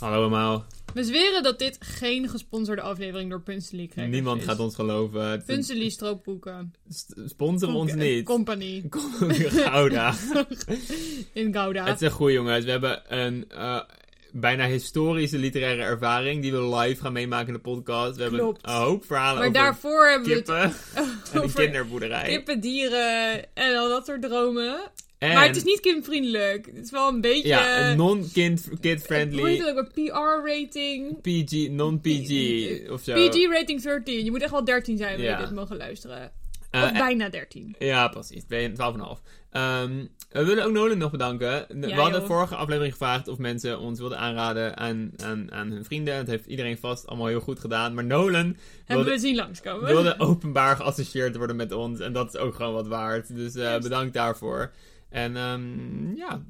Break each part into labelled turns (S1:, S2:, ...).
S1: Hallo allemaal.
S2: We zweren dat dit geen gesponsorde aflevering door Punselie krijgt.
S1: Niemand gaat ons geloven.
S2: Punselie stroopboeken.
S1: St- Sponsor ons
S2: Conca-
S1: niet.
S2: Company.
S1: Kom- Gouda.
S2: In Gouda.
S1: Het is goed jongens. We hebben een eh, bijna historische literaire ervaring die we live gaan meemaken in de podcast. We hebben
S2: Klopt.
S1: een hoop verhalen
S2: maar
S1: over
S2: daarvoor hebben we
S1: kippen
S2: het
S1: en een
S2: over
S1: kinderboerderij.
S2: kippen, dieren en al dat soort dromen.
S1: En,
S2: Maar het is niet kindvriendelijk. Het is wel een beetje...
S1: Ja, een
S2: Hoe heet
S1: non-kid-friendly
S2: het ook? Een PR-rating.
S1: PG, non-PG of zo.
S2: PG-rating 13. Je moet echt wel 13 zijn wil je
S1: Ja.
S2: dit mogen luisteren.
S1: Eh,
S2: of bijna 13.
S1: Ja, precies. 12,5. Ehm we willen ook Nolan nog bedanken. we
S2: Ja,
S1: hadden
S2: joh.
S1: vorige aflevering gevraagd of mensen ons wilden aanraden aan, aan, aan hun vrienden. Dat heeft iedereen vast allemaal heel goed gedaan. Maar Nolan
S2: Hebben
S1: wilde,
S2: we zien langskomen.
S1: wilde openbaar geassocieerd worden met ons. En dat is ook gewoon wat waard. Dus eh,
S2: Juist.
S1: bedankt daarvoor. En ehm ja.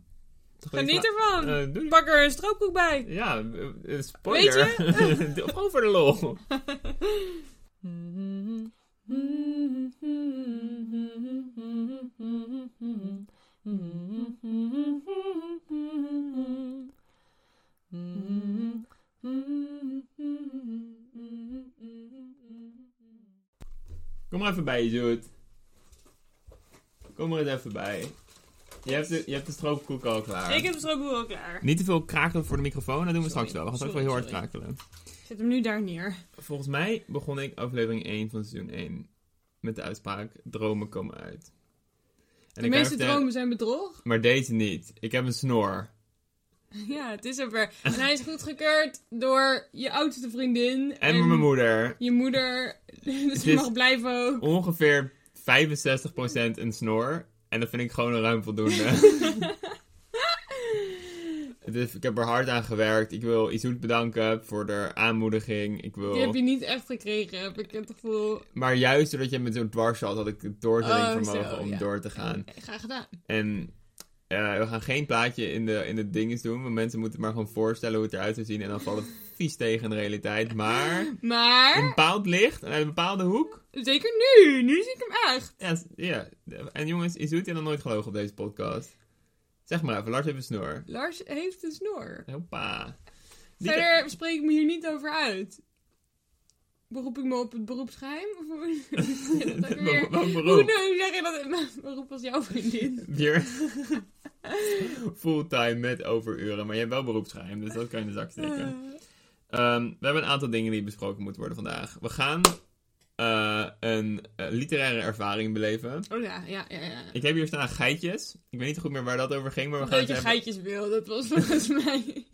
S2: Geniet ervan.
S1: Eh, doei.
S2: Pak er een stroopkoek bij.
S1: Ja, eh, eh, spoiler. Weet je? Gewoon voor de lol. Kom maar even bij, Jude. Kom er eens even bij. Je hebt de, je hebt de stroopkoek al klaar.
S2: Ik heb de stroopkoek al klaar.
S1: Niet te veel krakelen voor de microfoon, dat doen we
S2: Sorry.
S1: straks wel. We gaan straks wel
S2: Sorry,
S1: heel hard
S2: sorry.
S1: krakelen.
S2: Zet hem nu daar neer.
S1: Volgens mij begon ik aflevering 1 van seizoen 1 met de uitspraak: dromen komen uit. En
S2: De
S1: ik
S2: meeste
S1: merkte-
S2: dromen zijn bedrog.
S1: Maar deze niet. Ik heb een snor.
S2: Ja, het is zover. En hij is goedgekeurd door je oudste vriendin.
S1: En, mijn moeder.
S2: Je moeder. Dus je
S1: Dit-
S2: mag blijven
S1: Oh.
S2: ook.
S1: Ongeveer 65% een snor. En dat vind ik gewoon een ruim voldoende. dus ik heb er hard aan gewerkt. Ik wil Isoet bedanken voor de aanmoediging. Ik wil...
S2: Die heb je niet echt gekregen, heb ik het gevoel.
S1: Maar juist doordat je met zo'n dwars had, had ik het doorzettingsvermogen
S2: Oh, zo,
S1: om
S2: ja.
S1: door te gaan.
S2: Graag gedaan.
S1: En eh, we gaan geen plaatje in de, in de dinges doen. Want mensen moeten maar gewoon voorstellen hoe het eruit zou zien. En dan valt het vies tegen de realiteit. Maar een
S2: Maar,
S1: bepaald licht en uit een bepaalde hoek.
S2: zeker nu. Nu zie ik hem echt.
S1: Ja, s- ja. En jongens, is heeft nog nooit gelogen op deze podcast. Zeg maar even, Lars heeft een snor.
S2: Lars heeft een snor.
S1: Hoppa. Die-
S2: Verder spreek ik me hier niet over uit. Beroep ik me op het beroepsgeheim? Of hoe- hoe zeg je dat ook weer?
S1: Wel- welk
S2: Hoe
S1: beroep?
S2: hoe zeg je dat? Mijn beroep was jouw vriendin.
S1: Weer fulltime met overuren. Maar je hebt wel beroepsgeheim, dus dat kan je in de zak steken.
S2: Eh,
S1: Ehm, we hebben een aantal dingen die besproken moeten worden vandaag. We gaan eh, een eh, literaire ervaring beleven.
S2: oh ja, ja, ja. ja.
S1: Ik heb hier staan geitjes. Ik weet niet goed meer waar dat over ging, maar we gaan het
S2: Dat je
S1: hebben-
S2: geitjes wil, dat was volgens mij.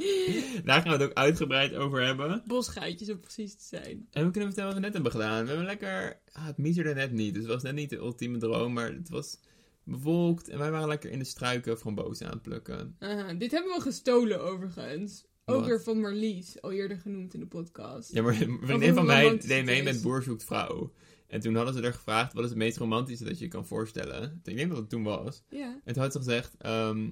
S1: daar gaan we het ook uitgebreid over hebben.
S2: Bosgeitjes om precies te zijn.
S1: En we kunnen vertellen wat we net hebben gedaan. We hebben lekker... Ah, het miezerde net niet, dus het was net niet de ultieme droom, maar het was bewolkt. En wij waren lekker in de struiken frambozen aan het plukken.
S2: Aha, dit hebben we gestolen overigens. Ook
S1: Wat?
S2: weer van Marlies, al eerder genoemd in de podcast.
S1: Ja, maar een vriendin
S2: hoe
S1: van mij
S2: romantisch
S1: deed
S2: het
S1: mee
S2: is.
S1: met Boer zoekt vrouw. En toen hadden ze er gevraagd, wat is het meest romantische dat je je kan voorstellen? Ik denk dat het toen was.
S2: Ja.
S1: En toen had ze gezegd, ehm,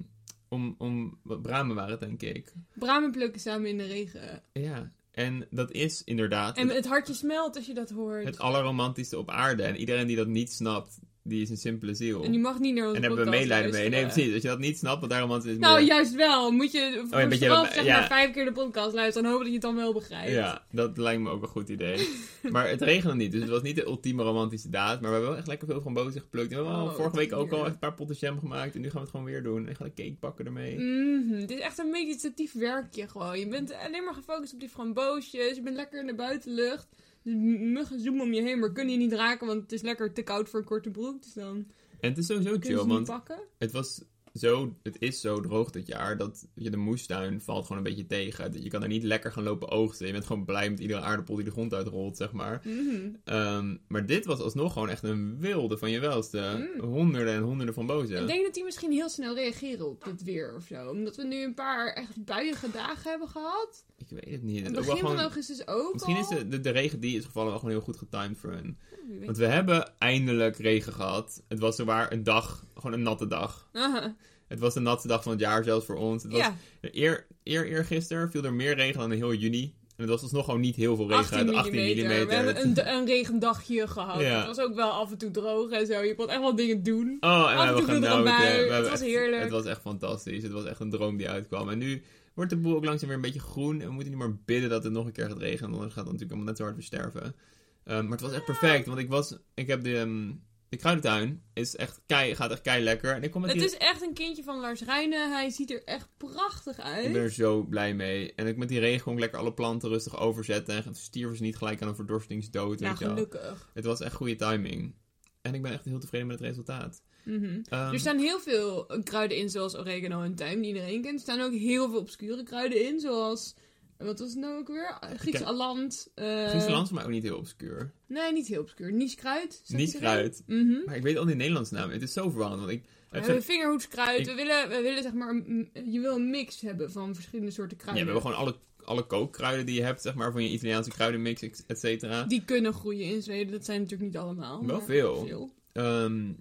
S1: om, om wat bramen waren het, denk ik.
S2: Bramen plukken samen in de regen.
S1: Ja, en dat is inderdaad
S2: En
S1: het,
S2: het hartje smelt als je dat hoort.
S1: het allerromantischste op aarde. En iedereen die dat niet snapt, die is een simpele ziel.
S2: En je mag niet naar onze
S1: En hebben we
S2: podcast
S1: medelijden mee. Nee,
S2: luisteren.
S1: precies. Als je dat niet snapt, wat daar romantisch is.
S2: Nou,
S1: meer-
S2: juist wel. Moet je voor
S1: een beetje
S2: straf,
S1: dat-
S2: zeg
S1: ja.
S2: maar vijf keer de podcast luisteren en hopen dat je het dan wel begrijpt.
S1: Ja, dat lijkt me ook een goed idee. maar het regende niet, dus het was niet de ultieme romantische daad. Maar we hebben wel echt lekker veel frambozen geplukt. En we hebben al
S2: Oh,
S1: vorige week ook
S2: dear.
S1: al echt een paar potten jam gemaakt. En nu gaan we het gewoon weer doen. En gaan we cake bakken ermee.
S2: Mhm, dit is echt een meditatief werkje gewoon. Je bent alleen maar gefocust op die framboosjes. Je bent lekker in de buitenlucht. De m- muggen zoomen om je heen, maar kunnen je niet raken, want het is lekker te koud voor een korte broek. Dus dan
S1: En het is sowieso
S2: kun je ze
S1: chill,
S2: niet
S1: want
S2: pakken.
S1: Het was zo, het is zo droog dit jaar dat je de moestuin valt gewoon een beetje tegen. Je kan er niet lekker gaan lopen oogsten. Je bent gewoon blij met iedere aardappel die de grond uitrolt, zeg maar.
S2: Mhm.
S1: Ehm, maar dit was alsnog gewoon echt een wilde van je welste.
S2: Mm.
S1: Honderden en honderden van bozen.
S2: Ik denk dat die misschien heel snel reageren op dit weer of zo. Omdat we nu een paar echt buiige dagen hebben gehad.
S1: Ik weet het niet. Het
S2: En
S1: is ook wel
S2: begin van
S1: gewoon,
S2: augustus ook
S1: misschien
S2: al.
S1: is de, de, de regen die is gevallen wel gewoon heel goed getimed voor hun.
S2: Wie weet.
S1: Want we hebben eindelijk regen gehad. Het was zowaar een dag, gewoon een natte dag.
S2: Aha.
S1: Het was de natste dag van het jaar zelfs voor ons. Het was
S2: Ja,
S1: Eer, eer, eer gisteren viel er meer regen dan in heel juni. En het was alsnog gewoon niet heel veel regen.
S2: 18
S1: uit
S2: mm.
S1: 18 mm.
S2: We hebben een, een regendagje gehad.
S1: Ja.
S2: Het was ook wel af en toe droog en zo. Je kon echt wel dingen doen.
S1: Oh, en we
S2: af en
S1: hebben
S2: toe viel er een
S1: genoten.
S2: bui.
S1: We
S2: Het
S1: hebben
S2: was
S1: echt-
S2: heerlijk.
S1: Het was echt fantastisch. Het was echt een droom die uitkwam. En nu wordt de boel ook langzaam weer een beetje groen. En we moeten niet maar bidden dat het nog een keer gaat regenen. Anders gaat het natuurlijk allemaal net zo hard weer sterven. Ehm, maar het was echt
S2: Ah.
S1: perfect. Want ik was... Ik heb de... ehm, de kruidentuin is echt kei, gaat echt kei lekker. En ik kom met
S2: Het
S1: die-
S2: is echt een kindje van Lars Rijnen. Hij ziet er echt prachtig
S1: Ik ben
S2: uit.
S1: er zo blij mee. En ik met die regen kon ik lekker alle planten rustig overzetten. En stierven ze niet gelijk aan een verdorstingsdood.
S2: Ja,
S1: weet je wel.
S2: gelukkig.
S1: Het was echt goede timing. En ik ben echt heel tevreden met het resultaat.
S2: Mhm.
S1: Ehm,
S2: Er staan heel veel kruiden in, zoals oregano en tijm, die iedereen kent. Er staan ook heel veel obscure kruiden in, zoals... Wat was het nou ook weer? Grieks
S1: ken-
S2: aland. eh,
S1: Griekenland is voor mij ook niet heel obscuur.
S2: Nee, niet heel obscuur. Nieskruid. zegt
S1: Nieskruid.
S2: iedereen? Mhm.
S1: Maar ik weet al die Nederlandse namen. Het is zo verwarrend. Want ik
S2: We
S1: heb zo'n-
S2: hebben vingerhoedskruid.
S1: Ik-
S2: We, willen, we willen zeg maar... een- je wil een mix hebben van verschillende soorten
S1: ja, we
S2: kruiden.
S1: hebben gewoon alle, alle kookkruiden die je hebt, zeg maar, van je Italiaanse kruidenmix, et cetera.
S2: Die kunnen groeien in Zweden. Dat zijn natuurlijk niet allemaal.
S1: Wel
S2: maar
S1: veel. Ehm,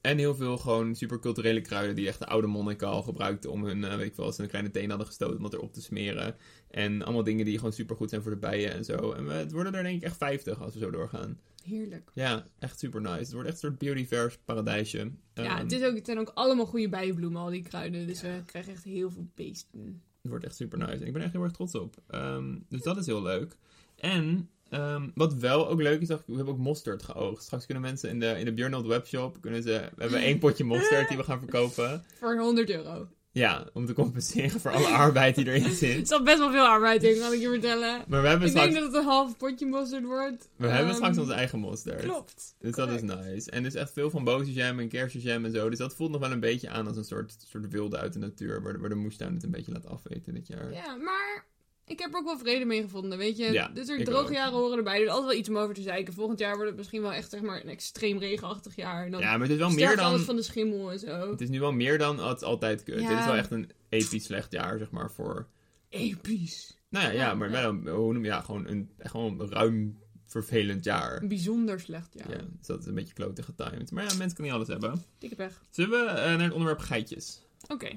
S1: en heel veel gewoon superculturele kruiden die echt de oude monniken al gebruikten om hun, eh, weet ik wel, als ze een kleine teen hadden gestoten om dat erop te smeren. En allemaal dingen die gewoon supergoed zijn voor de bijen en zo. En we, het worden er denk ik echt 50 als we zo doorgaan.
S2: Heerlijk.
S1: Ja, echt super nice. Het wordt echt een soort biodivers paradijsje.
S2: ja,
S1: Ehm,
S2: het, is ook, het zijn ook allemaal goede bijenbloemen, al die kruiden. Dus we krijgen echt heel veel beesten.
S1: Het wordt echt super nice. En ik ben er echt heel erg trots op. Ehm, dus dat is heel leuk. En ehm, wat wel ook leuk is, dacht ik, we hebben ook mosterd geoogst. Straks kunnen mensen in de, in de Björnold webshop, kunnen ze, we hebben één potje mosterd die we gaan verkopen.
S2: Voor 100 euro.
S1: Ja, om te compenseren voor alle arbeid die erin
S2: Het
S1: zit.
S2: is al best wel veel arbeid in, kan ik je vertellen.
S1: Maar we hebben
S2: Ik denk
S1: straks,
S2: dat het een half potje mosterd wordt.
S1: we hebben
S2: Ehm,
S1: straks onze eigen mosterd.
S2: Klopt.
S1: Dus dat is nice. En dus echt veel van bozenjam en kersenjam en zo. Dus dat voelt nog wel een beetje aan als een soort, soort wilde uit de natuur. Waar de, waar de moestuin het een beetje laat afweten dit jaar.
S2: Ja, maar ik heb er ook wel vrede mee gevonden, weet je.
S1: Ja,
S2: dus er
S1: ik
S2: droge
S1: ook.
S2: jaren horen erbij. Er is altijd wel iets om over te zeiken. Volgend jaar wordt het misschien wel echt zeg maar, een extreem regenachtig jaar. En dan
S1: Ja, maar het is wel meer
S2: sterft
S1: dan...
S2: alles van de schimmel en zo.
S1: Het is nu wel meer dan het altijd kut.
S2: Ja.
S1: Dit is wel echt een episch slecht jaar, zeg maar, voor...
S2: Episch.
S1: Nou ja,
S2: Oh,
S1: ja maar wel, een- hoe noem je ja, gewoon een, gewoon een ruim vervelend jaar.
S2: Een bijzonder slecht
S1: Ja.
S2: jaar.
S1: dus dat is een beetje klote getimed. Maar ja, mensen kunnen niet alles hebben.
S2: Dikke pech.
S1: Zullen we eh, naar het onderwerp geitjes?
S2: Oké.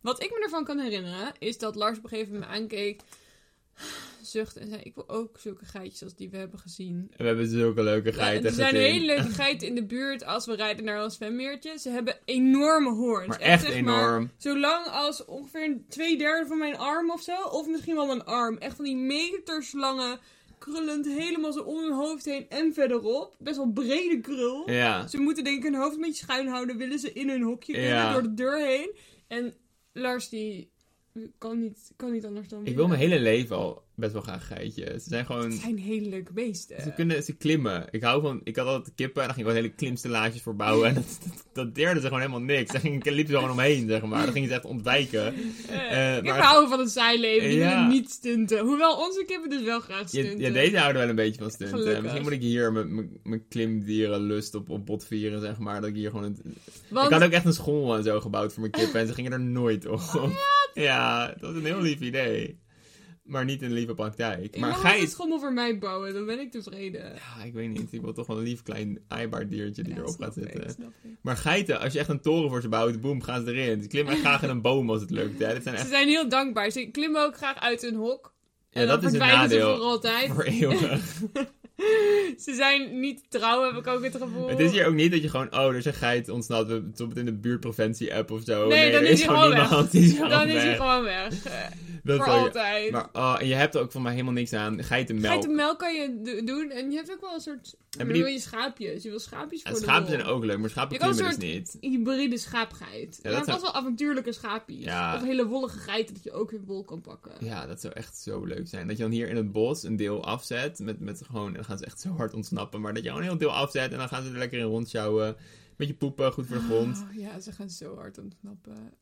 S2: Wat ik me ervan kan herinneren, is dat Lars op een gegeven moment me aankeek, zucht en zei: Ik wil ook zulke geitjes als die we hebben gezien.
S1: We hebben zulke leuke
S2: Ja,
S1: geiten
S2: er zijn
S1: gezien.
S2: hele leuke geiten in de buurt als we rijden naar ons zwemmeertje. Ze hebben enorme hoorns.
S1: Maar echt
S2: dus zeg maar,
S1: enorm.
S2: Zolang als ongeveer twee derde van mijn arm of zo. Of misschien wel mijn arm. Echt van die meterslangen. Krullend helemaal zo om hun hoofd heen en verderop. Best wel brede krul.
S1: Ja.
S2: Ze moeten denk ik hun hoofd een beetje schuin houden. Willen ze in hun hokje kunnen
S1: Ja.
S2: door de deur heen. En Lars die kan niet, kan niet anders dan...
S1: Ik wil mijn hele leven al best wel graag geitjes. Ze zijn
S2: Het
S1: gewoon...
S2: zijn hele leuke beesten.
S1: Ze kunnen ze klimmen. Ik hou van... Ik had altijd kippen en dan ging ik wel hele klimstellages voor bouwen. En dat, dat, dat deerde ze gewoon helemaal niks. Daar ging, liepen ze gewoon omheen, zeg maar. Daar gingen ze echt ontwijken. eh,
S2: Eh, ik
S1: maar-
S2: hou van het zijleven. Die
S1: Ja.
S2: willen niet stunten. Hoewel onze kippen dus wel graag
S1: Ja,
S2: stunten.
S1: ja, deze houden wel een beetje van stunten.
S2: Gelukkig.
S1: Misschien moet ik hier mijn- mijn- mijn klimdierenlust op, op bot vieren, zeg maar. Dat ik hier gewoon... het-
S2: Want
S1: Ik had ook echt een school en zo gebouwd voor mijn kippen en ze gingen er nooit op. ja, dat was een heel lief idee. Maar niet in de lieve praktijk.
S2: ik
S1: Maar
S2: mag
S1: gij
S2: een schommel voor mij bouwen. Dan ben ik tevreden.
S1: Ja, ik weet niet. Ik wil toch wel een lief klein aaibaar diertje die
S2: Ja,
S1: erop
S2: snap
S1: gaat
S2: ik,
S1: zitten.
S2: snap ik.
S1: Maar geiten, als je echt een toren voor ze bouwt, boem, gaan ze erin. Ze klimmen graag in een boom als het lukt. Hè. Dat zijn
S2: Ze
S1: echt...
S2: zijn heel dankbaar. Ze klimmen ook graag uit hun hok.
S1: Ja,
S2: en dan
S1: dat is een
S2: verdwijnen ze voor
S1: nadeel.
S2: altijd.
S1: Voor eeuwig.
S2: Ze zijn niet trouw, heb ik ook het gevoel.
S1: het is hier ook niet dat je gewoon, oh, er is een geit ontsnapt. We stoppen het in de buurtpreventie-app of zo.
S2: Nee, dan
S1: er
S2: is hij
S1: gewoon
S2: gewoon weg.
S1: niemand. Die is
S2: Dan is hij
S1: weg.
S2: gewoon weg. Eh,
S1: Dat
S2: voor
S1: zou je-
S2: altijd.
S1: Maar oh, en je hebt er ook van mij helemaal niks aan. Geitenmelk.
S2: Geitenmelk kan je do- doen. En je hebt ook wel een soort...
S1: maar
S2: Dan
S1: die-
S2: wil je schaapjes. Je wil schaapjes voor
S1: En
S2: de
S1: schapen
S2: lol.
S1: zijn ook leuk, maar schapen
S2: Je kan een
S1: klimmen dus niet.
S2: Hybride schaapgeit.
S1: dat
S2: maar het
S1: zijn-
S2: was wel avontuurlijke schaapjes.
S1: Ja.
S2: Of hele wollige geiten dat je ook weer wol kan pakken.
S1: Ja, dat zou echt zo leuk zijn. Dat je dan hier in het bos een deel afzet. Met, met gewoon, en dan gaan ze echt zo hard ontsnappen. Maar dat je gewoon een heel deel afzet en dan gaan ze er lekker in rondsjouwen. Beetje poepen, goed voor de grond.
S2: Oh, ja, ze gaan zo hard ontsnappen.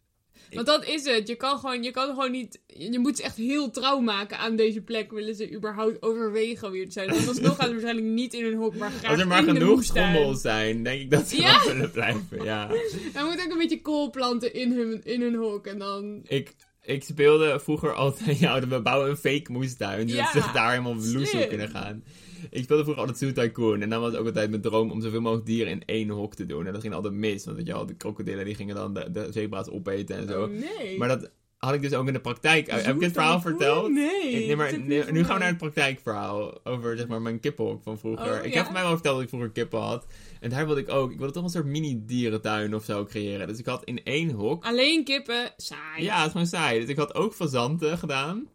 S2: Want dat is het. Je kan gewoon, je kan gewoon niet. Je je moet ze echt heel trouw maken aan deze plek. Willen ze überhaupt overwegen weer te zijn? Want alsnog gaan ze waarschijnlijk niet in hun hok, maar graag.
S1: Als er maar
S2: in de
S1: genoeg
S2: moestuin.
S1: schommels zijn, denk ik dat ze
S2: Ja.
S1: wel zullen blijven. Ja.
S2: Hij moet ook een beetje kool planten in hun, in hun hok. En dan.
S1: Ik, ik speelde vroeger altijd, ja, we bouwen een fake moestuin. Zodat
S2: Ja,
S1: ze zich daar helemaal loes
S2: slim.
S1: op kunnen gaan. Ik speelde vroeger altijd Zoo Tycoon. En dan was het ook altijd mijn droom om zoveel mogelijk dieren in één hok te doen. En dat ging altijd mis. Want weet je wel, de krokodillen die gingen dan de, de zebra's opeten en zo.
S2: Oh, nee.
S1: Maar dat had ik dus ook in de praktijk. heb ik
S2: Zoet
S1: het verhaal
S2: ook? Oei,
S1: verteld?
S2: Nee.
S1: Ik- nee, maar
S2: dat heb
S1: nu-
S2: je
S1: nu gaan we
S2: verteld.
S1: naar het praktijkverhaal over zeg maar, mijn kippenhok van vroeger.
S2: Oh,
S1: ik
S2: ja?
S1: heb mij wel verteld dat ik vroeger kippen had. En daar wilde ik ook, ik wilde toch een soort mini-dierentuin of zo creëren. Dus ik had in één hok,
S2: Alleen kippen, saai.
S1: ja, het is gewoon saai. Dus ik had ook fazanten gedaan.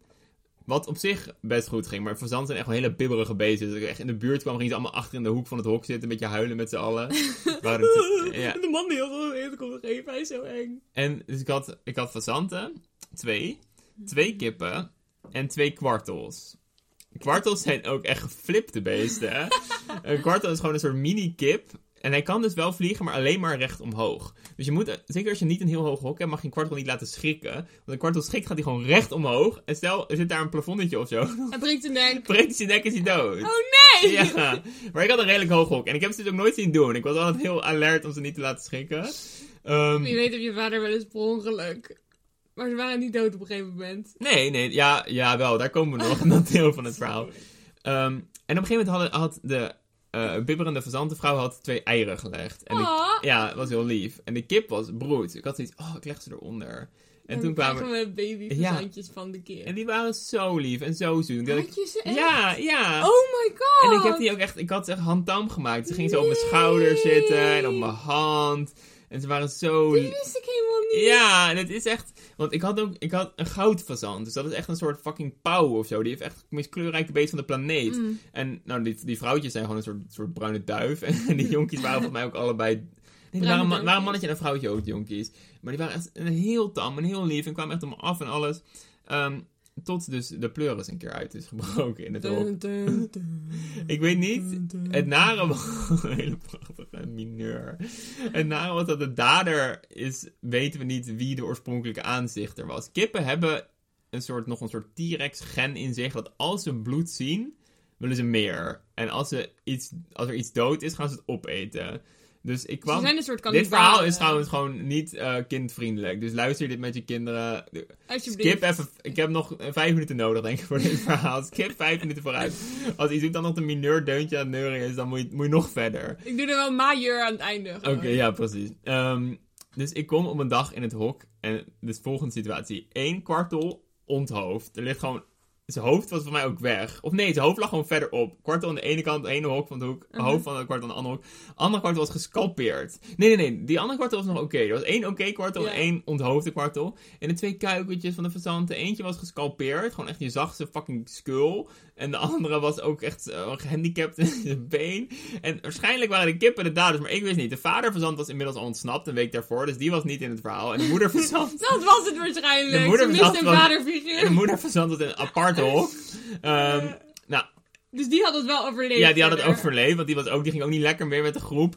S1: Wat op zich best goed ging. Maar fazanten zijn echt wel hele bibberige beesten. Dus als ik echt in de buurt kwam, gingen ze allemaal achter in de hoek van het hok zitten. Een beetje huilen met z'n allen. Waren het- ja.
S2: De man die heel veel eten komt geven, hij is zo eng.
S1: En dus ik had, ik had fazanten, twee,
S2: Mhm.
S1: twee kippen en twee kwartels. Kwartels zijn ook echt geflipte beesten. hè? een kwartel is gewoon een soort mini-kip. En hij kan dus wel vliegen, maar alleen maar recht omhoog. Dus je moet, eh, zeker als je niet een heel hoog hok hebt, mag je een kwartel niet laten schrikken. Want een kwartel schrikt, gaat hij gewoon recht omhoog. En stel, er zit daar een plafondetje of zo. Dan
S2: Hij breekt de nek.
S1: breekt zijn nek is hij dood.
S2: Oh nee!
S1: Ja, maar ik had een redelijk hoog hok. En ik heb ze dus ook nooit zien doen. Ik was altijd heel alert om ze niet te laten schrikken. Ehm,
S2: Je weet op je vader wel eens per ongeluk. Maar ze waren niet dood op een gegeven moment.
S1: Nee, nee, ja, ja wel, daar komen we nog, dat deel van het verhaal.
S2: Sorry.
S1: Ehm, en op een gegeven moment had, had de eh, bibberende fazantenvrouw had twee eieren gelegd. En de-
S2: Ah,
S1: ja, dat was heel lief. En de kip was broed. Ik had zoiets, oh, ik leg ze eronder. En toen kwamen...
S2: we babyverzandjes van de keer.
S1: En die waren zo lief en zo zoet. Ik dacht,
S2: Had je ze echt?
S1: ja, ja.
S2: Oh my god!
S1: En ik heb die ook echt, ik had ze echt handtam gemaakt. Ze gingen zo op mijn
S2: Nee.
S1: schouder zitten en op mijn hand. En ze waren zo
S2: Die wist ik helemaal niet.
S1: Ja, en het is echt. Want ik had ook ik had een goudfazant. Dus dat is echt een soort fucking pauw of zo. Die heeft echt het meest kleurrijke beest van de planeet.
S2: Mm.
S1: En nou, die, die vrouwtjes zijn gewoon een soort, soort bruine duif. En die jonkies waren volgens mij ook allebei. Nee, die
S2: Bruine
S1: waren, een man-
S2: jonkies.
S1: waren een mannetje en een vrouwtje ook, die jonkies. Maar die waren echt een heel tam en heel lief. En kwamen echt om me af en alles. Ehm, tot dus de pleuris een keer uit is gebroken in het hok.
S2: Dun, dun, dun.
S1: Ik weet niet. Het nare was... Een hele prachtige mineur. Het nare was dat de dader is... Weten we niet wie de oorspronkelijke aanzichter was. Kippen hebben een soort, nog een soort T-Rex gen in zich. Dat als ze bloed zien, willen ze meer. En als, ze iets, als er iets dood is, gaan ze het opeten. Dus ik
S2: Ze
S1: kwam...
S2: zijn een soort eh,
S1: Dit
S2: kannibalen.
S1: verhaal is trouwens gewoon niet eh, kindvriendelijk. Dus luister dit met je kinderen.
S2: Alsjeblieft.
S1: Skip even. Ik heb nog eh, vijf minuten nodig, denk ik, voor dit verhaal. Skip vijf minuten vooruit. Als iets doet dan nog een mineur deuntje aan het neuren is, dan moet je, moet je nog verder.
S2: Ik doe er wel majeur aan het einde.
S1: Oké, ja, precies. Ehm, dus ik kom op een dag in het hok. En dus volgende situatie. Eén kwartel onthoofd. Er ligt gewoon... Zijn hoofd was voor mij ook weg. Of nee, zijn hoofd lag gewoon verderop. Kwartel aan de ene kant, de ene hok van de hoek.
S2: Mhm.
S1: Hoofd van de kwartel aan de andere hok. Andere kwartel was gescalpeerd. Nee, nee, nee. Die andere kwartel was nog oké. Er was één oké kwartel
S2: Ja.
S1: en één onthoofde kwartel. En de twee kuikentjes van de fazanten. Eentje was gescalpeerd. Gewoon echt, je zag zijn fucking skull. En de andere was ook echt eh, gehandicapt in zijn been. En waarschijnlijk waren de kippen de daders, maar ik wist niet. De vader fazant was inmiddels al ontsnapt een week daarvoor. Dus die was niet in het verhaal. En de moeder fazant...
S2: Dat was het waarschijnlijk.
S1: De moeder
S2: Ze
S1: dacht
S2: mist een
S1: van- En de
S2: vaderfiguur.
S1: moeder verzandt het in een aparte hok. Ehm, nou,
S2: Dus die had het wel overleefd.
S1: ja, die had het
S2: verder.
S1: overleefd, want die, was ook, die ging ook niet lekker meer met de groep.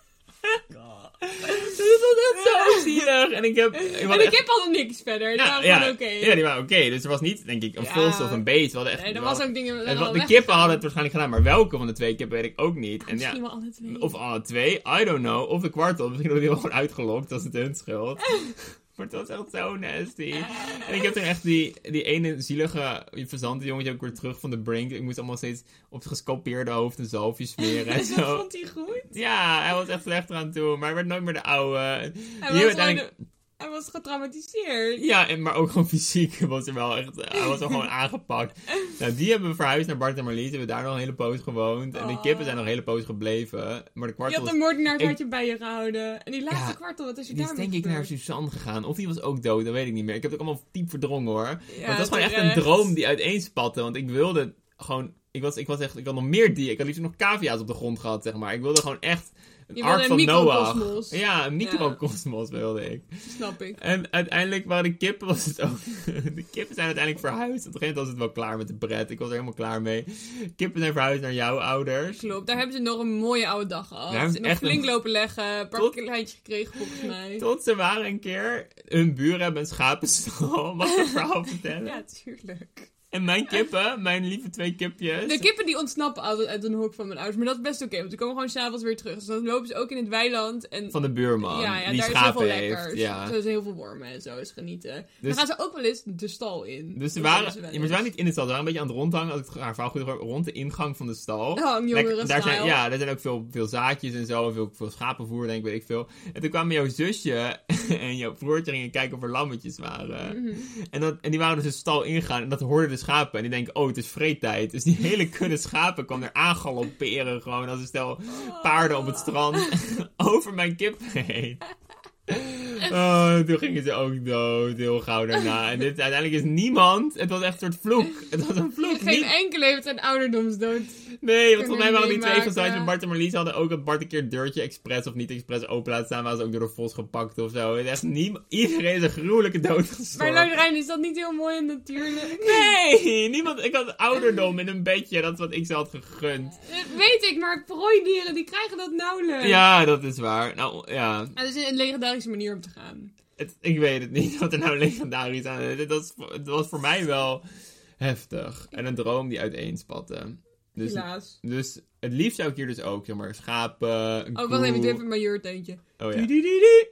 S1: Dus dat was echt zo zielig. En ik heb... Ik had
S2: En de
S1: echt-
S2: kip had niks verder. Die
S1: ja,
S2: waren
S1: ja,
S2: gewoon oké.
S1: ja, die waren oké. Dus er was niet, denk ik, een
S2: Ja.
S1: vos of een beest. We hadden echt
S2: Nee, er
S1: wel-
S2: was ook dingen.
S1: en
S2: waren
S1: wat-
S2: al
S1: de
S2: weg.
S1: kippen hadden het waarschijnlijk gedaan, maar welke van de twee kippen weet ik ook niet. En ja,
S2: Misschien wel alle twee.
S1: Of alle twee, I don't know. Of de kwartel, misschien worden die wel gewoon uitgelokt, dat is het hun schuld. maar het was echt zo nasty. En ik heb toen echt die, die ene zielige verzante jongetje ook weer terug van de brink. Ik moest allemaal steeds op het gescalpeerde hoofd een zalfje smeren en
S2: Dus dat
S1: zo.
S2: vond hij goed.
S1: Ja, hij was echt slechter aan toe, maar hij werd nooit meer de oude.
S2: Hij
S1: Hier
S2: was,
S1: uiteindelijk-
S2: gewoon- hij was getraumatiseerd.
S1: Ja, en, maar ook gewoon fysiek was hij wel echt, hij was wel gewoon aangepakt. Nou, die hebben we verhuisd naar Bart en Marlies, hebben daar nog een hele poos gewoond. En de
S2: Oh.
S1: kippen zijn nog een hele poos gebleven, maar de
S2: Je
S1: kwartel
S2: had
S1: is
S2: de moordenaar
S1: Ik-
S2: had je bij je gehouden. En die laatste
S1: Ja,
S2: kwartel, wat is je
S1: Die is
S2: daarmee
S1: denk ik naar
S2: gebeurd?
S1: Suzanne gegaan. Of die was ook dood, dat weet ik niet meer. Ik heb het ook allemaal diep verdrongen hoor.
S2: Ja,
S1: want dat was gewoon echt
S2: terecht.
S1: een droom die uiteenspatte. Want ik wilde gewoon... Ik was, ik was echt... Ik had nog meer dieren. Ik had liefst nog cavia's op de grond gehad, zeg maar. Ik wilde gewoon echt...
S2: Je
S1: Een
S2: wilde
S1: ark
S2: een
S1: van Noach.
S2: microkosmos.
S1: Ja, een microcosmos wilde ik.
S2: Snap ik.
S1: En uiteindelijk waren de kippen was het ook... De kippen zijn uiteindelijk verhuisd. Op een gegeven moment was het wel klaar met de pret. Ik was er helemaal klaar mee. Kippen zijn verhuisd naar jouw ouders.
S2: Klopt, daar hebben ze nog een mooie oude dag gehad.
S1: Daar hebben ze
S2: nog
S1: echt
S2: flink
S1: een-
S2: lopen leggen, een paar
S1: Tot-
S2: kleintjes gekregen volgens mij.
S1: Tot ze waren een keer... Hun buren hebben een schapenstal. Mag ik het verhaal vertellen?
S2: Ja, tuurlijk.
S1: En mijn kippen, mijn lieve twee kipjes.
S2: De kippen die ontsnappen altijd uit een hok van mijn ouders. Maar dat is best oké, want die komen gewoon s'avonds weer terug. Dus dan lopen ze ook in het weiland. En
S1: Van de buurman,
S2: ja, ja
S1: die
S2: daar is heel veel
S1: schapen
S2: lekkers.
S1: heeft. Ja.
S2: Er zijn heel veel wormen en zo, is genieten.
S1: Dus-
S2: Dan gaan ze ook wel eens de stal in.
S1: Dus ze
S2: Dat
S1: waren,
S2: doen
S1: ja,
S2: wel
S1: maar ze
S2: eens.
S1: waren niet in de stal, ze waren een beetje aan het rondhangen. Als ik het haar verhaal goed heb, rond de ingang van de stal.
S2: Oh, een jongere
S1: Lekker- daar zijn,
S2: stijl.
S1: Ja, daar zijn ook veel, veel zaadjes en zo. En veel, veel schapenvoer, denk ik, weet ik veel. En toen kwamen jouw zusje en jouw broertje gingen kijken of er lammetjes waren.
S2: Mhm.
S1: en, dat, en die waren dus de stal ingegaan en dat hoorden de schapen. En die denken, oh, het is vreetijd. Dus die hele kudde schapen kwam er aangalopperen gewoon. Als een stel paarden op het strand over mijn kip heen. Oh, toen gingen ze ook dood, heel gauw daarna. En dit, uiteindelijk is niemand, het was echt een soort vloek. Het was een vloek.
S2: Geen
S1: niet-
S2: enkele heeft een ouderdomsdood.
S1: Nee, want
S2: Kunnen
S1: volgens mij waren die twee
S2: meemaken.
S1: gestuurd. Bart en Marlies hadden ook dat Bart een keer een deurtje expres of niet expres open laat staan. Waren ze ook door de vos gepakt of zo. En echt niemand, iedereen is een gruwelijke dood
S2: Maar
S1: gestorven.
S2: Laurijn, is dat niet heel mooi en natuurlijk?
S1: Nee, niemand. Ik had ouderdom in een bedje. Dat is wat ik ze had gegund.
S2: Dat Eh, weet ik, maar prooidieren die krijgen dat nauwelijks.
S1: Ja, dat is waar. Nou, ja.
S2: Ja, dat is een legendarische manier om te gaan.
S1: Het, ik weet het niet wat er nou legendarisch aan is. Het was, voor- het was voor mij wel heftig. En een droom die uiteenspatte. Dus,
S2: Helaas.
S1: dus het liefst zou ik hier dus ook, zeg maar, schapen, een
S2: Oh, wacht even, ik
S1: koe.
S2: doe even mijn jurteuntje.
S1: Oh ja.
S2: Doedoedoedoe.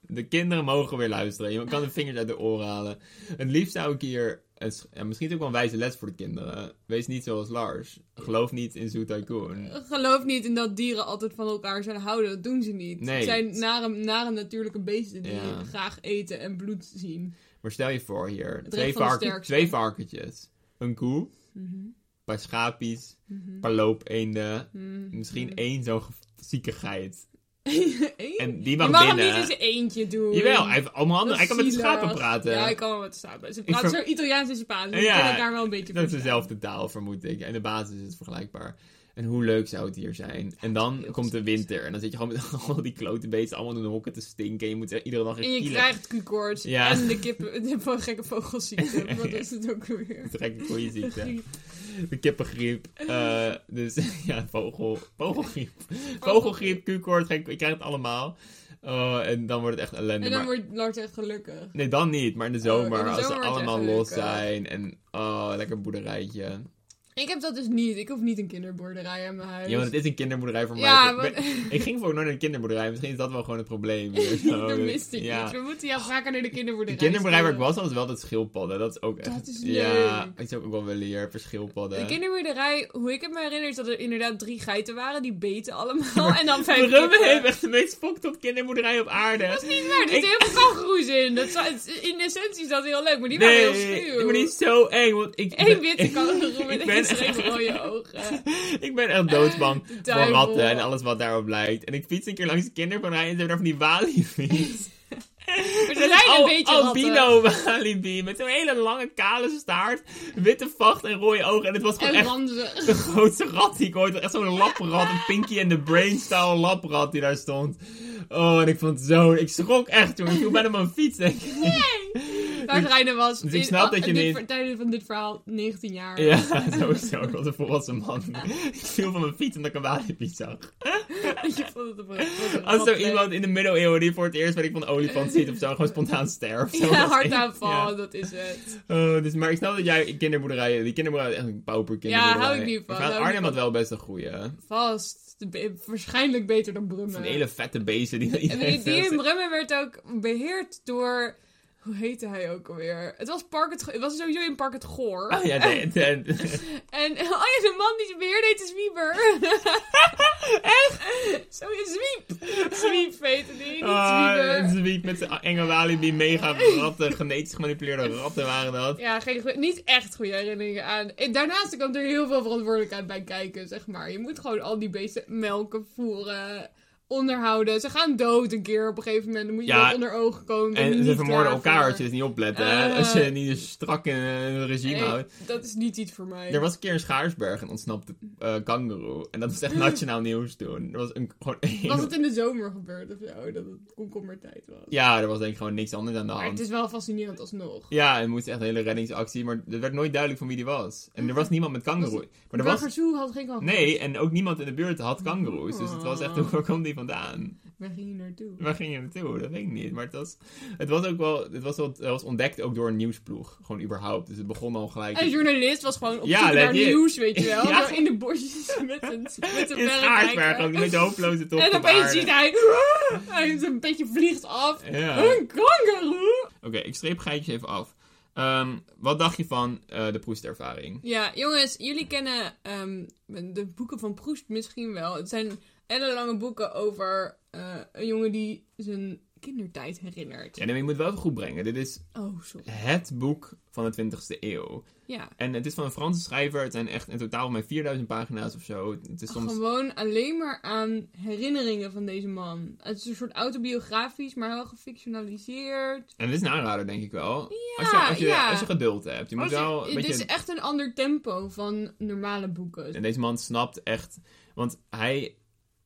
S1: De kinderen mogen weer luisteren. Je kan de vingers uit de oren halen. Het liefst zou ik hier... een sch- ja, misschien is het ook wel een wijze les voor de kinderen. Wees niet zoals Lars. Geloof niet in Zoo Tycoon.
S2: Geloof niet in dat dieren altijd van elkaar zullen houden. Dat doen ze niet.
S1: Nee.
S2: Het zijn nare, nare natuurlijke beesten die
S1: Ja.
S2: graag eten en bloed zien.
S1: Maar stel je voor hier... Twee,
S2: recht van de
S1: varken-
S2: sterkste.
S1: twee varkentjes. Een koe.
S2: Mhm.
S1: Een paar schapies. Een paar loopeenden.
S2: Mhm.
S1: Misschien één zo'n ge- zieke geit.
S2: Eén?
S1: En die
S2: Je
S1: mag,
S2: mag hem
S1: binnen.
S2: niet in zijn eentje doen.
S1: Jawel, hij, heeft allemaal handen- hij
S2: Dat is
S1: kan met de
S2: zielig.
S1: schapen praten.
S2: Ja, ik kan wel met de schapen. Ze
S1: Ik
S2: praten
S1: ver-
S2: zo Italiaans en Spaans. Dus
S1: Ja,
S2: ik kan elkaar wel een beetje
S1: Dat is
S2: verstaan.
S1: dezelfde taal, vermoed ik. En de basis is het vergelijkbaar. En hoe leuk zou het hier zijn? En dan
S2: heel
S1: komt de
S2: gezellig.
S1: winter. En dan zit je gewoon met al die klote beesten allemaal in de hokken te stinken. En je moet er iedere dag in
S2: En je
S1: kielen.
S2: krijgt Q-koorts
S1: Ja.
S2: en de kippen, de van gekke vogelziekte. Wat is het ook weer?
S1: De gekke koeienziekte. De kippengriep. Eh, dus ja, vogel, vogelgriep. Vogelgriep, Q-koorts, gek- je krijgt het allemaal. Eh, en dan wordt het echt ellende.
S2: En dan
S1: maar-
S2: wordt Lars echt gelukkig.
S1: Nee, dan niet. Maar in de
S2: Oh, in de
S1: zomer, als ze
S2: zomer wordt het
S1: allemaal
S2: echt
S1: los
S2: leuk, eh.
S1: zijn. En oh, lekker boerderijtje.
S2: Ik heb dat dus niet. Ik hoef niet een kinderboerderij aan mijn huis.
S1: Ja, want het is een kinderboerderij voor
S2: dus- Ja,
S1: mij. Ik,
S2: maar-
S1: ben- ik ging voor nooit naar de kinderboerderij. Misschien is dat wel gewoon het probleem.
S2: dat miste ik
S1: ja.
S2: niet. We moeten jou vaker naar de
S1: De
S2: kinderboerderij.
S1: kinderboerderij waar ik
S2: sturen.
S1: was, was wel dat schildpadden. Dat is ook echt...
S2: is
S1: Ja,
S2: leuk.
S1: ik zou ook wel willen hier voor schildpadden.
S2: De kinderboerderij, hoe ik het me herinner, is dat er inderdaad drie geiten waren. Die beten allemaal. en dan vijf
S1: Brummen
S2: kippen.
S1: heeft echt de meest fokt op kinderboerderij op aarde.
S2: Dat is niet waar. Er zitten heel veel kangoeroes in. Dat, zou- in essentie is dat heel leuk, maar die
S1: nee,
S2: waren heel schuw.
S1: maar die is zo eng. Want ik,
S2: Eén witte kangoeroe
S1: Ik
S2: met
S1: ben
S2: één streep
S1: echt-
S2: rode ogen.
S1: ik ben echt doodsbang voor
S2: duivel.
S1: ratten en alles wat daarop lijkt. En ik fiets een keer langs de kinderboerderij en ze hebben daar van die walifiets.
S2: Maar ze zijn een
S1: Al-
S2: beetje ratten.
S1: albino walibi met zo'n hele lange kale staart, witte vacht en rode ogen. En het was gewoon
S2: En
S1: echt
S2: ranzig.
S1: de grootste rat die ik ooit... Echt zo'n laprat, een Pinky and the Brain-style laprat die daar stond. Oh, en ik vond het zo... Ik schrok echt toen. Ik viel bijna mijn fiets. denk ik.
S2: Lars Reiner was
S1: Dus ik snap dat je
S2: dit,
S1: niet-
S2: ver- tijdens van dit verhaal 19 jaar.
S1: Ja, sowieso. Ik was een volwassen man. Ik viel van mijn fiets omdat ik een walibi zag.
S2: Dat je vond het op een-
S1: Als zo
S2: wat leuk.
S1: iemand in de middeleeuwen die voor het eerst weet ik van een olifant ziet of zo, gewoon spontaan sterft. Zo,
S2: Ja,
S1: dat is echt-
S2: hartaanval,
S1: ja.
S2: dat is het.
S1: Oh, dus, maar ik snap dat jij kinderboerderijen... Die kinderboerderij is echt een pauperkinderboerderij.
S2: Ja, hou ik niet van,
S1: Maar
S2: hou ik
S1: Arnhem
S2: niet
S1: had wel best een goeie. hè.
S2: Vast. Be- waarschijnlijk beter dan Brummen.
S1: Van die hele vette beesten die
S2: En
S1: iedereen
S2: die, die in
S1: zelfs-
S2: Brummen werd ook beheerd door... Hoe heette hij ook alweer? Het was, Park het, Go- het was sowieso in Park het Goor.
S1: Ah ja, de, de-
S2: En oh ja, de man die ze beheerde heette Zwieber. Echt? Zo in Zwiep. Zwiep heette die, niet
S1: Ah,
S2: Zwieber.
S1: een zwiep met zijn enge walibi, mega ratten, genetisch gemanipuleerde ratten waren dat.
S2: Ja, geen goe- niet echt goede herinneringen aan. En daarnaast kwam er heel veel verantwoordelijkheid bij kijken, zeg maar. Je moet gewoon al die beesten melken, voeren, onderhouden. Ze gaan dood een keer op een gegeven moment. Dan moet je
S1: Ja,
S2: wel onder ogen komen. Ben je
S1: En ze
S2: niet
S1: vermoorden
S2: klaar
S1: elkaar
S2: voor.
S1: als je dus niet oplet, hè.
S2: Eh.
S1: Als je niet dus strak in eh, het regime
S2: Nee,
S1: houdt.
S2: dat is niet iets voor mij.
S1: Er was een keer in Schaarsberg een ontsnapte eh kangaroo. En dat was echt nationaal nieuws toen. Er was een, gewoon één...
S2: Mm. Was het in de zomer gebeurd of zo, dat het komkommertijd was?
S1: Ja, er was denk ik gewoon niks anders aan de
S2: Maar het
S1: hand.
S2: is wel fascinerend alsnog.
S1: Ja, en moest echt een hele reddingsactie. Maar er werd nooit duidelijk van wie die was. En
S2: Mm.
S1: er was niemand met kangaroo. Maar er was...
S2: Burgersoe had geen kanker. Oh.
S1: Nee, en ook niemand in de buurt had kangaroes. Dus het was echt, hoe komt die vandaan?
S2: Waar ging je naartoe?
S1: Waar ging je naartoe? Dat weet ik niet. Maar het was, het was ook wel, het was, wel, het was ontdekt ook door een nieuwsploeg. Gewoon überhaupt. Dus het begon al gelijk.
S2: Een journalist was gewoon op
S1: Ja,
S2: zoek naar
S1: legit.
S2: nieuws, weet je wel.
S1: Ja.
S2: Zo in de bosjes met een, met een
S1: in
S2: bel
S1: Schaarsberg,
S2: kijken.
S1: ook met de hopeloze top
S2: En
S1: op
S2: opeens
S1: aarde.
S2: ziet hij... Hij is een beetje vliegt af.
S1: Ja. Oké,
S2: Een kangaroo!
S1: ik streep geitjes even af. Ehm, wat dacht je van eh, de proestervaring?
S2: Ja, jongens, jullie kennen ehm, de boeken van Proest misschien wel. Het zijn ellenlange boeken over eh, een jongen die zijn kindertijd herinnert.
S1: Ja, nee, maar je moet wel even goed brengen. Dit is
S2: Oh, sorry.
S1: het boek van de 20e eeuw.
S2: Ja,
S1: En het is van een Franse schrijver. Het zijn echt in totaal mij 4000 pagina's of zo. Het is soms...
S2: gewoon alleen maar aan herinneringen van deze man. Het is een soort autobiografisch, maar wel gefictionaliseerd.
S1: En het is een aanrader, denk ik wel.
S2: Ja,
S1: als, je, als, je,
S2: ja.
S1: als je geduld hebt. Je moet
S2: Als je- dus
S1: wel een
S2: Oh, Het
S1: beetje...
S2: is echt een ander tempo van normale boeken.
S1: En deze man snapt echt. Want hij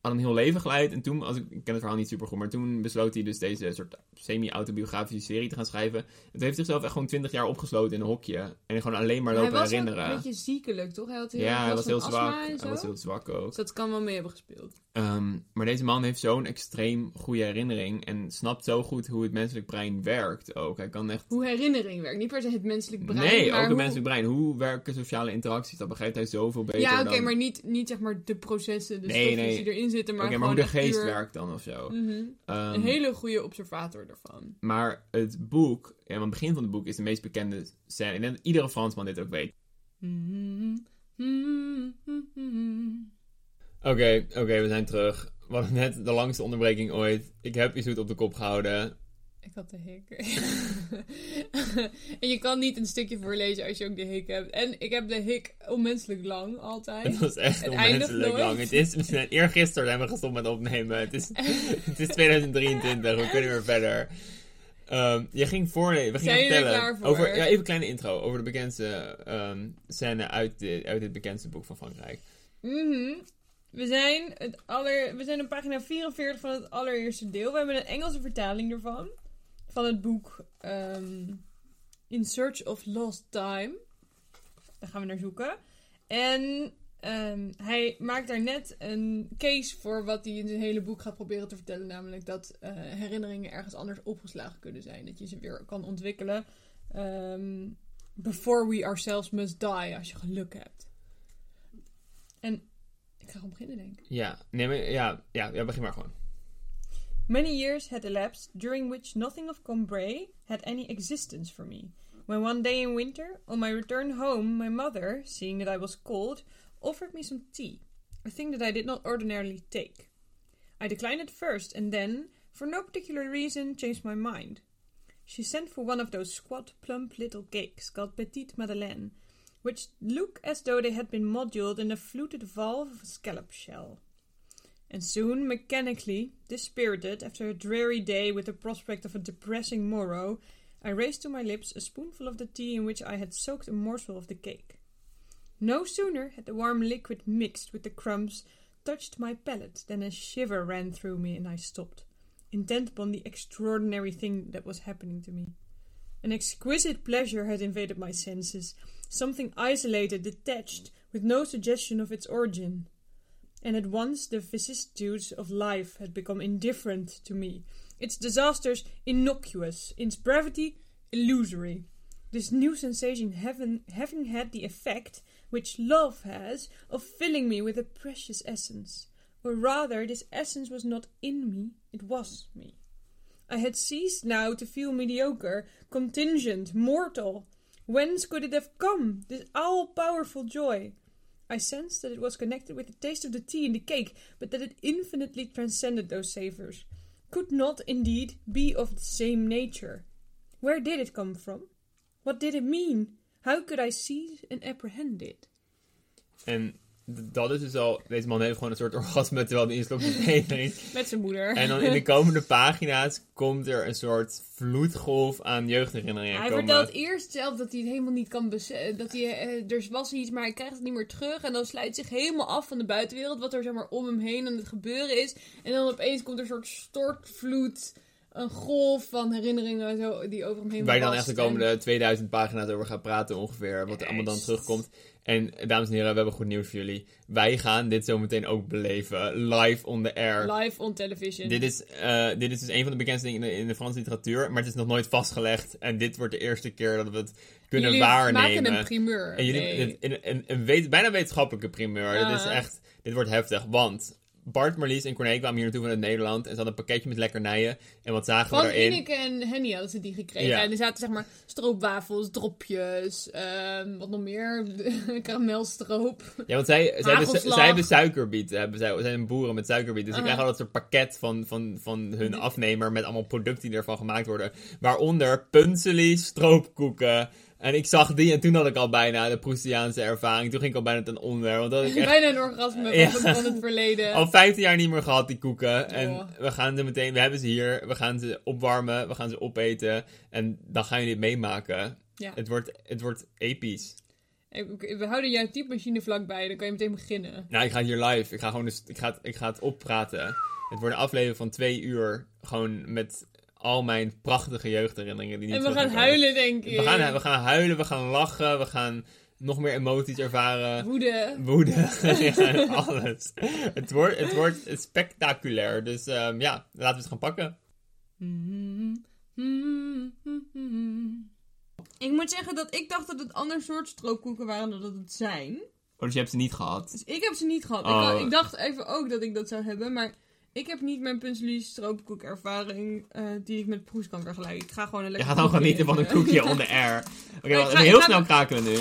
S1: had een heel leven geleid. En toen, als ik, ik ken het verhaal niet super goed, maar toen besloot hij dus deze soort semi-autobiografische serie te gaan schrijven. En toen heeft hij zichzelf echt gewoon 20 jaar opgesloten in een hokje. En gewoon alleen maar
S2: Hij
S1: lopen
S2: was ook
S1: herinneren.
S2: een beetje ziekelijk, toch? Hij had heel,
S1: ja, hij
S2: last
S1: was
S2: van
S1: heel
S2: astma
S1: zwak.
S2: en
S1: Hij
S2: zo.
S1: was heel zwak ook.
S2: Dus dat kan wel mee hebben gespeeld.
S1: Ehm, maar deze man heeft zo'n extreem goede herinnering. En snapt zo goed hoe het menselijk brein werkt ook. Hij kan echt.
S2: Hoe herinnering werkt. Niet per se het menselijk brein.
S1: nee,
S2: maar
S1: ook het
S2: hoe...
S1: menselijk brein. Hoe werken sociale interacties? Dat begrijpt hij zoveel beter.
S2: Ja, oké,
S1: dan...
S2: maar niet, niet zeg maar de processen, de
S1: Nee,
S2: stofjes
S1: nee.
S2: die erin zitten, maar
S1: Oké, maar
S2: gewoon
S1: hoe de
S2: echt
S1: geest
S2: puur-
S1: werkt dan of zo.
S2: Mhm.
S1: Ehm,
S2: Een hele goede observator daarvan.
S1: Maar het boek, ja, maar het begin van het boek is de meest bekende scène. Ik denk dat iedere Fransman dit ook weet. Oké, oké, we zijn terug. We hadden net de langste onderbreking ooit. Ik heb Isoet op de kop gehouden.
S2: Ik had de hik. en je kan niet een stukje voorlezen als je ook de hik hebt. En ik heb de hik onmenselijk lang
S1: Het
S2: altijd.
S1: was echt
S2: Het eindigt
S1: onmenselijk
S2: nooit.
S1: lang. Het is, we zijn eergisteren zijn we gestopt met opnemen. Het is, het is 2023, we kunnen weer verder. Ehm, je ging voorlezen, we gingen
S2: Zijn jullie
S1: vertellen.
S2: er klaar voor?
S1: Over, ja, even een kleine intro over de bekendste ehm, scène uit dit, uit dit bekendste boek van Frankrijk.
S2: Mhm. We zijn, het aller, we zijn op pagina 44 van het allereerste deel. We hebben een Engelse vertaling ervan. Van het boek ehm, In Search of Lost Time. Daar gaan we naar zoeken. En ehm, hij maakt daar net een case voor wat hij in zijn hele boek gaat proberen te vertellen. Namelijk dat eh, herinneringen ergens anders opgeslagen kunnen zijn. Dat je ze weer kan ontwikkelen. ehm, before we ourselves must die, als je geluk hebt. Ik ga gewoon beginnen, denk ik.
S1: Ja, nee, maar, ja, ja, ja, begin maar gewoon.
S3: Many years had elapsed during which nothing of Combray had any existence for me. When one day in winter, on my return home, my mother, seeing that I was cold, offered me some tea, a thing that I did not ordinarily take. I declined at first and then, for no particular reason, changed my mind. She sent for one of those squat, plump little cakes called Petite Madeleine, which look as though they had been modelled in the fluted valve of a scallop shell. And soon, mechanically, dispirited after a dreary day with the prospect of a depressing morrow, I raised to my lips a spoonful of the tea in which I had soaked a morsel of the cake. No sooner had the warm liquid mixed with the crumbs touched my palate than a shiver ran through me and I stopped, intent upon the extraordinary thing that was happening to me. An exquisite pleasure had invaded my senses, something isolated, detached, with no suggestion of its origin and at once the vicissitudes of life had become indifferent to me, its disasters innocuous, its brevity illusory. This new sensation having, having had the effect which love has of filling me with a precious essence, or rather, this essence was not in me, it was me. I had ceased now to feel mediocre, contingent, mortal. Whence could it have come, this all powerful joy? I sensed that it was connected with the taste of the tea and the cake, but that it infinitely transcended those savours. Could not, indeed, be of the same nature. Where did it come from? What did it mean? How could I seize and apprehend it?
S1: En d- dat is dus al... Deze man heeft gewoon een soort orgasme terwijl hij in slokje thee drinkt.
S2: Met zijn moeder.
S1: En dan in de komende pagina's komt er een soort vloedgolf aan jeugdherinneringen
S2: hij
S1: komen.
S2: vertelt eerst zelf dat hij het helemaal niet kan beseffen. Dat hij, eh, er was iets, maar hij krijgt het niet meer terug. En dan sluit hij zich helemaal af van de buitenwereld. Wat er zeg maar om hem heen aan het gebeuren is. En dan opeens komt er een soort stortvloed een golf van herinneringen en zo die over hem heen
S1: Waar je dan
S2: wast
S1: echt de
S2: en-
S1: komende 2000 pagina's over gaat praten ongeveer. Wat er allemaal dan
S2: Juist.
S1: terugkomt. En eh, dames en heren, we hebben goed nieuws voor jullie. Wij gaan dit zometeen ook beleven. Live on the air.
S2: Live on television.
S1: Dit is, eh, dit is dus een van de bekendste dingen in de, in de Franse literatuur. Maar het is nog nooit vastgelegd. En dit wordt de eerste keer dat we het kunnen
S2: Jullie
S1: waarnemen.
S2: maken een primeur.
S1: En jullie,
S2: Nee.
S1: dit- een, een, een weet, bijna wetenschappelijke primeur.
S2: Ja.
S1: Dit is echt, dit wordt heftig. Want Bart, Marlies en Corné kwamen hier naartoe vanuit Nederland. En ze hadden een pakketje met lekkernijen. En wat zagen
S2: Van
S1: we erin?
S2: Ineke en Henny hadden ze die gekregen.
S1: Ja.
S2: En er zaten zeg maar stroopwafels, dropjes, ehm, wat nog meer, karamelstroop.
S1: Ja, want zij, zij, hebben,
S2: Hagelslag. Uh-huh.
S1: zij hebben suikerbieten. Hebben, zij zijn boeren met suikerbieten. Dus
S2: Aha.
S1: ze krijgen altijd een pakket van, van, van hun afnemer met allemaal producten die ervan gemaakt worden. Waaronder punselie, stroopkoeken. En ik zag die en toen had ik al bijna de Proustiaanse ervaring. Toen ging ik al bijna ten onder. Want dat had ik echt
S2: Bijna een orgasme
S1: Ja.
S2: van, van het verleden.
S1: al 15 jaar niet meer gehad, die koeken. En
S2: Oh.
S1: we gaan ze meteen, we hebben ze hier. We gaan ze opwarmen, we gaan ze opeten. En dan gaan jullie het meemaken.
S2: Ja.
S1: Het, wordt, het wordt episch.
S2: Ik- ik- We houden jouw typemachine vlakbij, dan kan je meteen beginnen.
S1: Nou, ik ga hier live. Ik ga gewoon dus, ik ga, het- ik ga het oppraten. Het wordt een aflevering van twee uur. Gewoon met al mijn prachtige jeugdherinneringen. Die niet
S2: En we
S1: terug
S2: gaan
S1: komen.
S2: huilen, denk ik.
S1: We gaan, we gaan huilen, we gaan lachen, we gaan nog meer emoties ervaren.
S2: Woede.
S1: Woede, ja, alles. Het wordt, het wordt spectaculair. Dus ehm, ja, laten we het gaan pakken.
S2: Ik moet zeggen dat ik dacht dat het ander soort stroopkoeken waren dan dat het zijn.
S1: Oh, dus je hebt ze niet gehad.
S2: Dus ik heb ze niet gehad. Ik,
S1: Oh.
S2: had- ik dacht even ook dat ik dat zou hebben, maar ik heb niet mijn punselie stroopkoekervaring eh, die ik met proes kan vergelijken. Ik ga gewoon een
S1: Je
S2: lekker
S1: gaat dan
S2: koekje
S1: genieten van een
S2: eten.
S1: koekje on the air. Oké,
S2: Ik
S1: wacht,
S2: ga- ik
S1: heel
S2: ga-
S1: snel kraken we nu.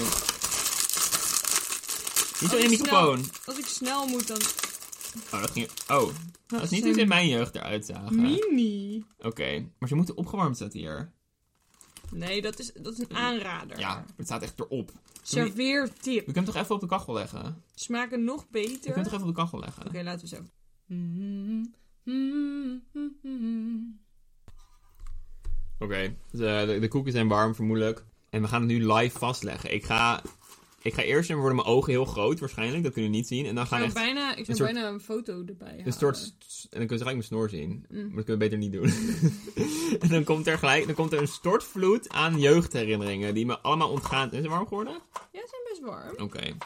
S1: Niet zo in de
S2: snel.
S1: microfoon.
S2: Als ik snel moet, dan...
S1: Oh, dat ging. Oh, dat is niet
S2: zijn-
S1: hoe ze in mijn jeugd eruit zagen.
S2: Mini.
S1: Oké, maar ze moeten opgewarmd zetten hier.
S2: Nee, dat is, dat is een aanrader.
S1: Ja, het staat echt erop. Kunnen we-
S2: Serveertip.
S1: We kunnen hem toch even op de kachel leggen? We
S2: Smaken nog beter.
S1: kunnen hem toch
S2: Oké,
S1: even op de kachel leggen?
S2: laten we zo.
S1: Oké, dus, eh, de, de koeken zijn warm vermoedelijk. En we gaan het nu live vastleggen. Ik ga, ik ga eerst, en worden mijn ogen heel groot waarschijnlijk, dat kunnen we niet zien. En dan
S2: Ik
S1: gaan
S2: zou,
S1: echt
S2: bijna, ik zou
S1: soort-
S2: bijna een foto erbij halen.
S1: een soort... En dan kunnen ze gelijk mijn snor zien.
S2: Mm.
S1: Maar dat kunnen we beter niet doen. en dan komt er gelijk, dan komt er een stortvloed aan jeugdherinneringen die me allemaal ontgaan. Is het warm geworden?
S2: Ja, ze zijn best warm.
S1: Oké.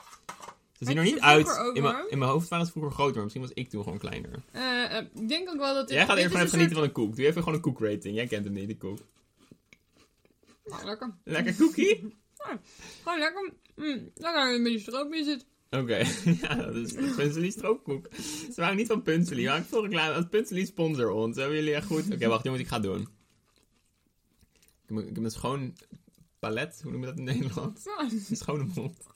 S1: Ze zien er
S2: je
S1: niet
S2: ze
S1: uit.
S2: vroeger ook
S1: In mijn,
S2: warm?
S1: in mijn hoofd waren ze vroeger groter, maar misschien was ik toen gewoon kleiner.
S2: Eh, eh, ik denk ook wel dat... dit-
S1: Jij gaat eerst gewoon
S2: dit is
S1: even
S2: een
S1: genieten van een koek. Doe even gewoon een koekrating. Jij kent hem niet, de koek.
S2: soort- Nou, lekker.
S1: Lekker koekie?
S2: Gewoon lekker. Mm, lekker een beetje stroop in zit.
S1: Oké, ja, dat is Punselie stroopkoek. Ze waren niet van Punselie, maar ik voel reclame. Als Punselie sponsor ons, hebben jullie echt goed... Oké, wacht jongens, ik ga het doen. Ik heb, een- ik heb een schoon palet, hoe noem je dat in Nederland?
S2: Ja.
S1: Een schone mond.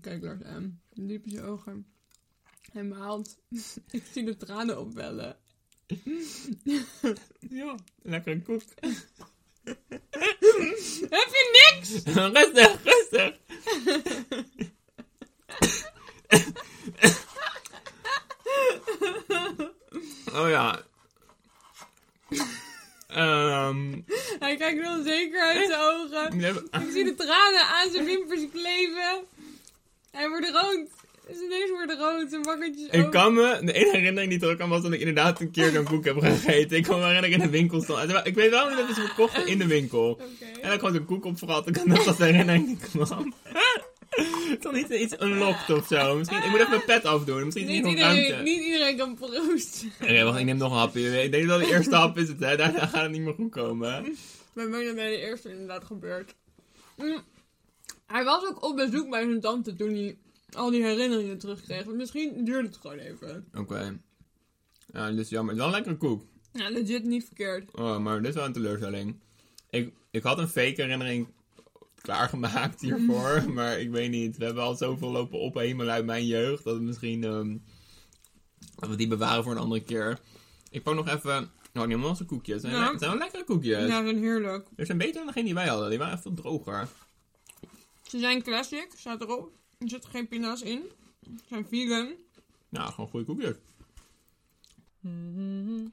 S2: Kijk Lars aan. Diep in zijn ogen. Hij maalt. ik zie de tranen opbellen.
S1: Ja, lekker koek.
S2: Heb je niks?
S1: rustig, rustig. oh ja. Ehm
S2: Hij kijkt wel zeker uit zijn ogen.
S1: ik heb-
S2: Ik zie de tranen aan zijn wimpers kleven. Hij wordt rood. Zijn neus wordt rood. Zijn wakkertjes
S1: ik kan me, de enige herinnering die terug kan was dat ik inderdaad een keer zo'n koek heb gegeten. Ik kan me herinneren dat ik in de winkel stond. Ik weet wel dat het is verkocht in de winkel.
S2: Oké.
S1: En dan kwam zo'n koek op verhaal. Ik kan nog dat herinnering die kwam. Toch niet iets unlocked of zo. Misschien, ik moet even mijn pet afdoen. Misschien is het
S2: Niet
S1: niet nog ruimte.
S2: iedereen, niet iedereen kan proosten.
S1: Oké, wacht, ik neem nog een hapje. Ik denk dat de eerste hap is het, hè. Daarna gaat het niet meer goed komen. hè.
S2: Bij mij is dat bij de eerste inderdaad gebeurd. Mm. Hij was ook op bezoek bij zijn tante toen hij al die herinneringen terugkreeg. Dus Misschien duurde het gewoon even.
S1: Oké. Ja, dit is jammer. Het is wel een lekkere koek.
S2: Ja, legit niet verkeerd.
S1: Oh, maar dit is wel een teleurstelling. Ik, ik had een fake herinnering klaargemaakt hiervoor, maar ik weet niet. We hebben al zoveel lopen op helemaal uit mijn jeugd, dat we misschien... ehm, dat we die bewaren voor een andere keer. Ik pak nog even... Nou, ik neem nog eens een koekje. Het zijn,
S2: Ja.
S1: le- het zijn wel lekkere koekjes.
S2: Ja, ze zijn heerlijk.
S1: Er zijn beter dan degene die wij hadden. Die waren echt veel droger.
S2: Ze zijn classic, staat erop. Er zit geen pina's in. Ze zijn vegan.
S1: Nou, gewoon goede koekjes.
S3: Mhm.